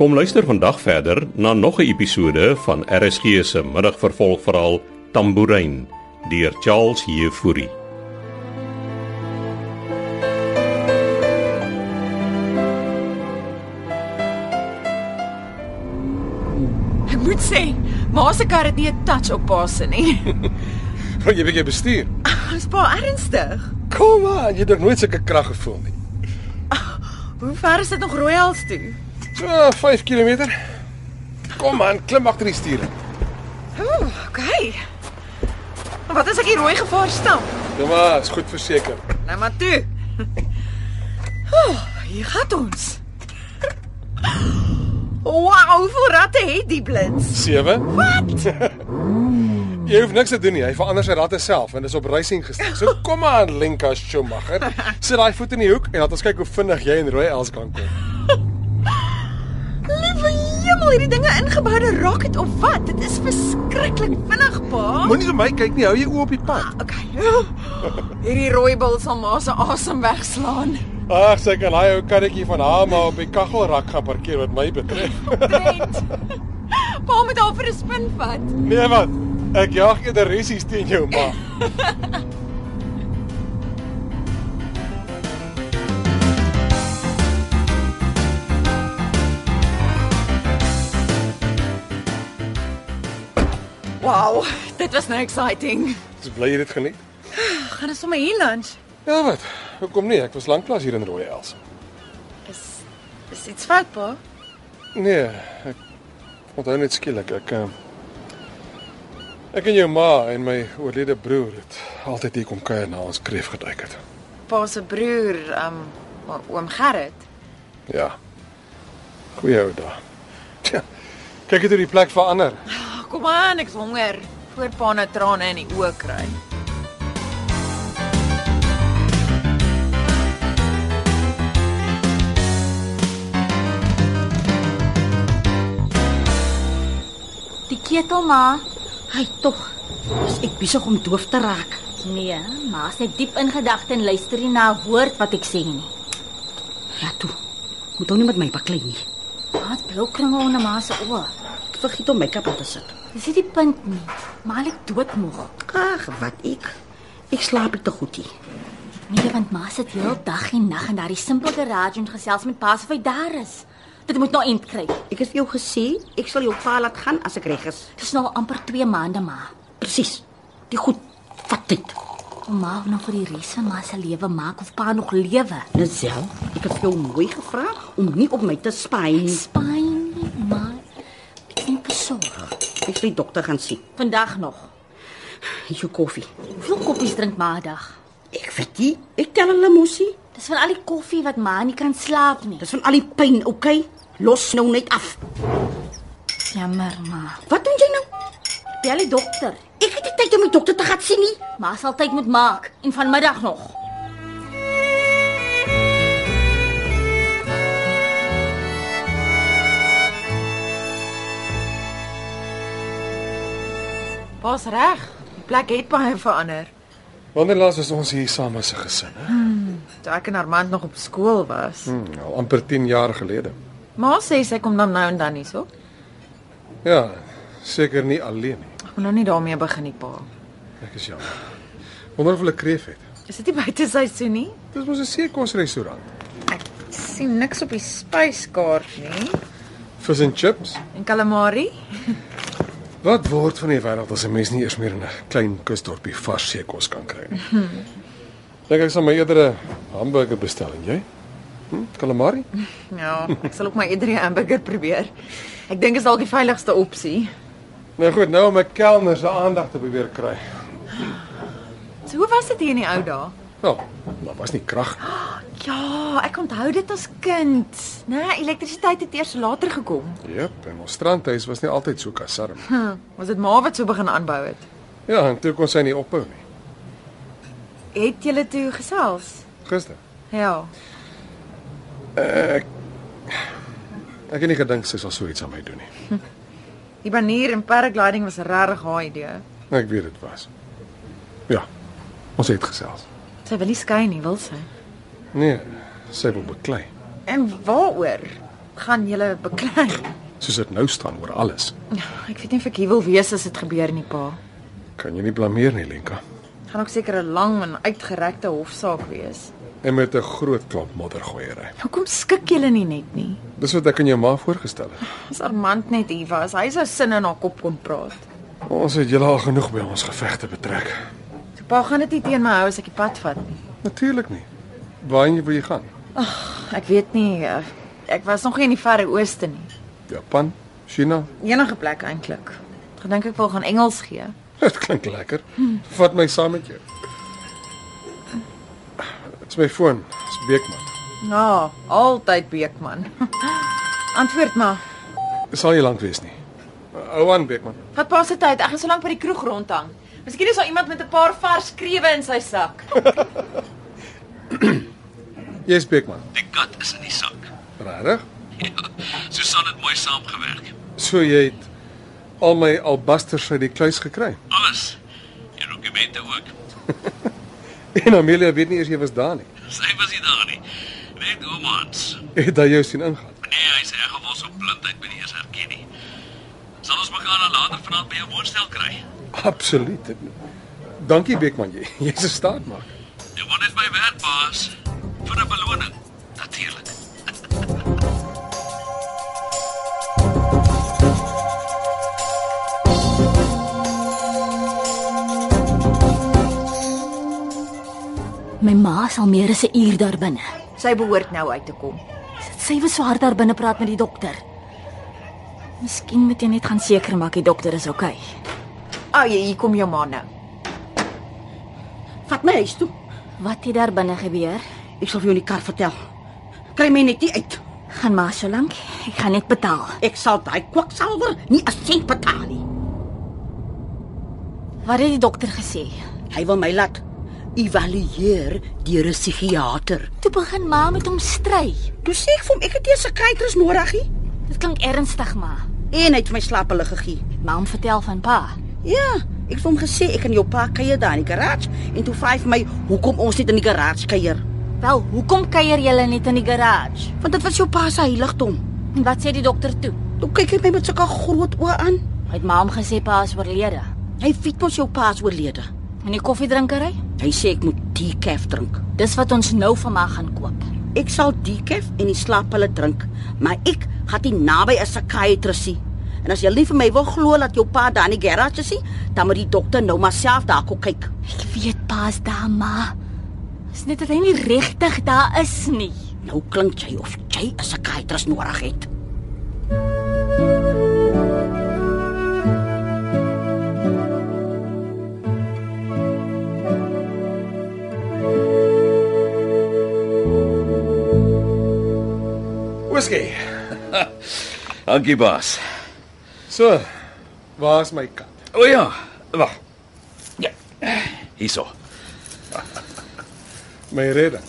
Kom luister vandag verder na nog 'n episode van RSG se middagvervolgverhaal Tambourine deur Charles Heffury. Ek moet sê, ma se kar het nie 'n touch op pa se nie. Wou jy bietjie bestuur? Is pa ernstig? Kom maar, jy het nog nooit sulke krag gevoel nie. Hoe ver is dit nog Royals toe? So 5 km. Kom man, klim agter die stuur. Ooh, okay. Maar wat as ek hier rooi gevaar stamp? Kom Ja, maar, is goed verseker. Nou maar toe. Ooh, hier gaan ons. Wow, hoeveel ratte het die blits? 7. Wat? jy hoef niks te doen nie. Hy verander sy ratte self en dis op racing gestel. So kom maar, Lenka Schumacher. Sit daai voet in die hoek en laat ons kyk hoe vinnig jy en Roy Els kan kom. Liewe hemel, hierdie dinge ingeboude rocket of wat? Dit is verskriklik vinnig, pa. Moenie vir my kyk nie. Hou jou oë op die pad. Okay. Hierdie rooi bil sal ma se asem wegslaan. Ag, sy kan daai ou karretjie van haar maar op die kaggelrak gaan parkeer wat my betref. Trent. Pa moet haar vir 'n spin vat. Nee wat? Ek jag eerder resies teen jou ma. Wow, dit was nou exciting. Dis bly jy dit geniet. Gaan ons sommer hier lunch? Ja wat? Hoekom nie? Ek was lanklaas hier in Rooi Els. Is is iets fout, pa? Nee, ek onthou net skielik ek eh, ek en jou ma en my oorlede broer het altyd hier kom kuier na ons kreef geduik het. Pa se broer, um oom Gerrit. Ja. Goeie ou dae. Tja, Kyk dit hoe die plek verander. Ag, kom aan, ek's honger. Voor pa nou trane in die oë kry. Die ketel maar. Hy tog. Is ek besig om doof te raak? Nee, maar as ek diep in gedagte en luister nie na 'n woord wat ek sê nie. Ja toe. Moet hom nie met my baklei nie. Daar's blou kringe onder ma se oë. Ek vergiet om make-up op te sit. Dis nie die punt nie, maar ek doodmoeg. Ag, wat ek. Ek slaap nie te goed nie. Nee, want ma sit heel dag en nag in daardie simpel garage en gesels met pa asof hy daar is. Dit moet nou eind kry. Ek het vir jou gesê, ek sal jou pa laat gaan as ek reg is. Dis nou al amper 2 maande ma. Presies. Die goed vat tyd. Om ma nog vir die res van ma se lewe maak of pa nog lewe. Nazel, ek het vir jou mooi gevra om nie op my te spy nie. Spyn nie, ma. Ek sien besorg. Ek sê dokter gaan sien. Vandag nog. Hier is jou koffie. Hoeveel koppies drink ma 'n dag? Ek weet nie. Ek tel hulle mosie. Dis van al die koffie wat ma nie kan slaap nie. Dis van al die pyn, okay? Los nou net af. Jammer ma. Wat doen jy nou? Bel die dokter. Ek het nie tyd om die dokter te gaan sien nie. Ma sal tyd moet maak en vanmiddag nog. Pa's reg. Die plek het baie verander. Wanneer laas was ons hier saam as 'n gesin? Hè? Toe ek en Armand nog op skool was. Hmm, al amper 10 jaar gelede. Ma sê sy kom dan nou en dan hierso. Ja, seker nie alleen nie. Ek moet nou nie daarmee begin nie, pa. Ek is jammer. Wonder of hulle kreef het. Is dit nie buite seisoen nie? Dis mos 'n seekosrestaurant. Ek sien niks op die spyskaart nie. Vis en chips. En calamari? Wat word van die wêreld as 'n mens nie eers meer in 'n klein kusdorpie vars seekos kan kry nie? Dink ek sal my eerder 'n hamburger bestel en jy? Hm, calamari? Ja, ek sal ook maar eerder 'n hamburger probeer. Ek dink is dalk die veiligigste opsie. Nou goed, nou om my kelner se aandag te probeer kry. So hoe was dit hier in die ou dae? Wel, Ja, maar was nie krag nie. Ja, ek onthou dit as kind. Nee, elektrisiteit het eers later gekom. Jep, en ons strandhuis was nie altyd so kasarm. nie. Hm, was dit maar wat so begin aanbou het. Ja, en toe kon sy nie ophou nie. Het julle toe gesels? Gister. Ja. Ek het nie gedink sy sal so iets aan my doen nie. Die banier en paragliding was regtig haar idee. Ek weet dit was. Ja. Ons het gesels. Sy wil nie skei nie, wil sy. Nee, sy wil beklei. En waaroor? gaan julle beklei. soos dit nou staan oor alles. Ek weet nie of ek hier wil wees as dit gebeur nie, pa. Kan jy nie blameer nie, Lenka. Gaan ook seker 'n lang en uitgerekte hofsaak wees. En met 'n groot klomp moddergooiery. Hoekom skik julle nie net nie? Dis wat ek aan jou ma voorgestel het. As Armand net hier was, hy sou sin in haar kop kon praat. Ons het julle al genoeg by ons gevegte betrek. So pa gaan dit nie teen my hou as ek die pad vat nie. Natuurlik nie. Waarheen wil jy gaan? Ek weet nie, eh, ek was nog nie in die verre ooste nie. Japan, China. Enige plek eintlik. Gedink ek wil gaan Engels gee. Dit klink lekker. Vat my saam met jou. Dit's my foon. Dis Beekman. Ja, altyd Beekman. Antwoord maar. Dit sal nie lank wees nie. Hou aan Beekman. Wat pas se tyd? Ek gaan so lank by die kroeg rondhang. Miskien is daar iemand met 'n paar vars skrewe in sy sak. Jy's Beekman. Die kat is in die sak. Regtig? Susan het mooi saamgewerk. So jy het al my albasters uit die kluis gekry. Alles. En dokumente ook. En Amelia weet nie eers jy was daar nie. Sy was nie daar nie. Net oomans. Het hy jou sien ingaan? Nee, hy's reg of ons op blindheid by die eers herken nie. Sal ons mekaar dan later vanaand by jou woonstel kry. Absoluut. Dankie Beekman, jy jy's 'n staatmaak. Jy word net my werk baas vir 'n beloning. Natuurlik. My ma sal meer as 'n uur daar binne. Sy behoort nou uit te kom. Sy was swaar daar binne praat met die dokter. Miskien moet jy net gaan seker maak die dokter is oukei. Okay. Ag, Ah, hier kom jou ma nou. Vat my huis toe. Wat het daar binne gebeur? Ek sal vir jou in die kar vertel. Kry my net nie uit. Gaan maar so lank. Ek gaan net betaal. Ek sal daai kwaksalwer nie 'n sent betaal nie. Wat het die dokter gesê? Hy wil my laat evalueer deur 'n psigiater. Toe begin ma met hom stry. Toe sê ek vir hom ek het eers 'n psychiatrus nodig hier Dit klink ernstig, ma. en hy het vir my slaapelige gegee. Ma hom vertel van pa. Ja, ek het vir hom gesê ek kan jou pa kuier daar in die garage en toe vra hy vir my hoekom ons net in die garage kuier. Wel, hoekom kuier julle net in die garage? Want dit was jou pa se heiligdom. En wat sê die dokter toe? Toe kyk hy my met sulke groot oë aan. Hy het ma hom gesê pa is oorlede. Hy weet mos jou pa is oorlede. In die koffiedrinkery? Hy sê ek moet decaf drink. Dis wat ons nou van ma gaan koop. Ek sal decaf en die slaappille drink, maar ek gaan nie naby 'n psychiatrist nie. En as jy lief vir my wil glo dat jou pa daar in die garage is, nie, dan moet die dokter nou maar self daar kom kyk. Ek weet pa's daar, ma. Is net dat hy nie regtig daar is nie. Nou klink jy of jy 'n psychiatrist nodig het. Whisky. Dankie, baas. So, waar's my kat? O ja, wag. Ja. Hierso. My redding.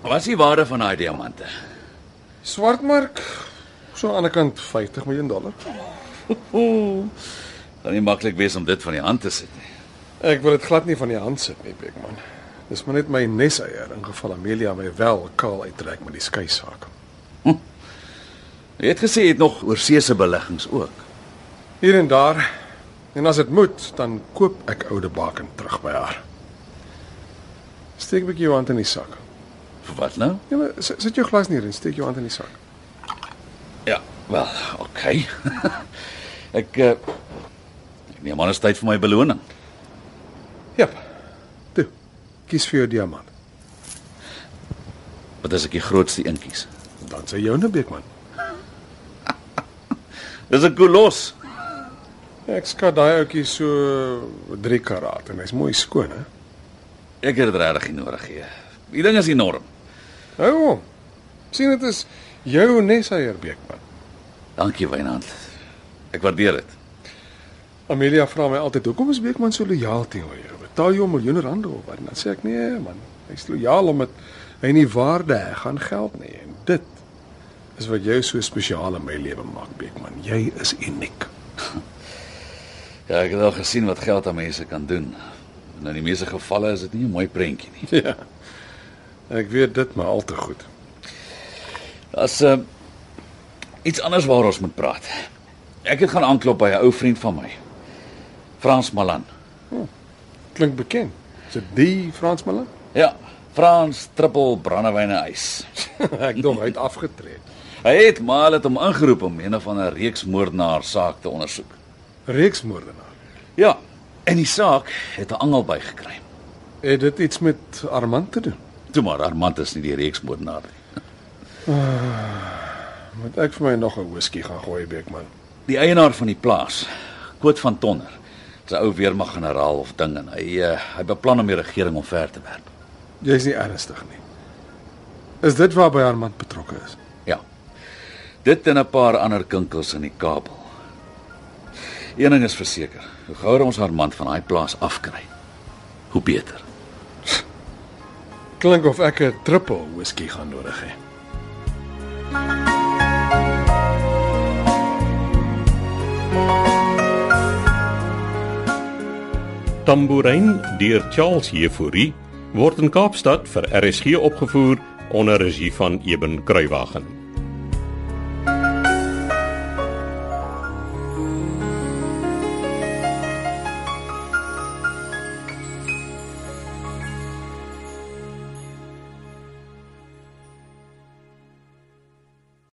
Wat is die waarde van daai diamante? Swartmark so aan die ander kant 50 miljoen dollar. Gaan nie maklik wees om dit van die hand te sit nie. Ek wil dit glad nie van die hand sit nie, Beekman. Dis maar net my neseier in geval Amelia my wel kaal uittrek met die skei saak. Jy het gesê jy het nog oorseese beleggings ook. Hier en daar. En as dit moet, dan koop ek oude baken terug by haar. Steek 'n bietjie jou hand in die sak. Vir wat nou? Ja, maar s- sit jou glas neer en steek jou hand in die sak. Ja, wel, okay. ek eh, ek neem aan dit is tyd vir my beloning. Jep. Toe. Kies vir jou diamant. Wat as ek die grootste een kies? Dan sê joune Beekman. Dis 'n kolos. Ek skat daai ouetjie so 3 karaat en hy's mooi skoon, hè. Ek het dit regtig nie nodig gee. Die ding is enorm. Hou hom. sien dit is jou nesaier Beekman. Dankie, Wynand. Ek waardeer dit. Amelia vra my altyd hoekom is Beekman so lojaal teenoor jou? Betaal jy hom miljoene rande of wat? En dan sê ek nee man, hy's lojaal omdat hy nie waarde heg aan geld nie en dit is wat jou so spesiaal in my lewe maak Beekman. Jy is uniek. Ja, ek het al gesien wat geld aan mense kan doen. En Nou, in die meeste gevalle is dit Ja. nie 'n mooi prentjie nie. Ja. Ek weet dit maar al te goed. Daar's uh, iets anders waar ons moet praat. Ek het gaan aanklop by 'n ou vriend van my. Frans Malan. Klink bekend. Is dit die Frans Malan? Ja, Frans trippel brandewyn en ys. ek dink hy het afgetree. Hy het maar hulle het hom ingeroep om een van 'n reeks moordenaar saak te ondersoek. Reeksmoordenaar. Ja, en die saak het 'n angel bygekry. Het dit iets met Armand te doen? Toe maar Armand is nie die reeks moordenaar nie. Moet ek vir my nog 'n whisky gaan gooi, Beekman? Die eienaar van die plaas, Koot van Tonner, is 'n ou weermag-generaal of ding en hy uh, hy beplan om die regering omver te werp. Jy's nie ernstig nie. Is dit waarby Armand betrokke is? Ja. Dit en 'n paar ander kinkels in die Kaap. Een ding is verseker, hoe gouer ons Armand van daai plaas afkry, hoe beter. Klink of ek 'n triple whisky gaan nodig hê. Tambourine deur Charles Jefouri word in Kaapstad vir RSG opgevoer onder regie van Eben Kruiwagen.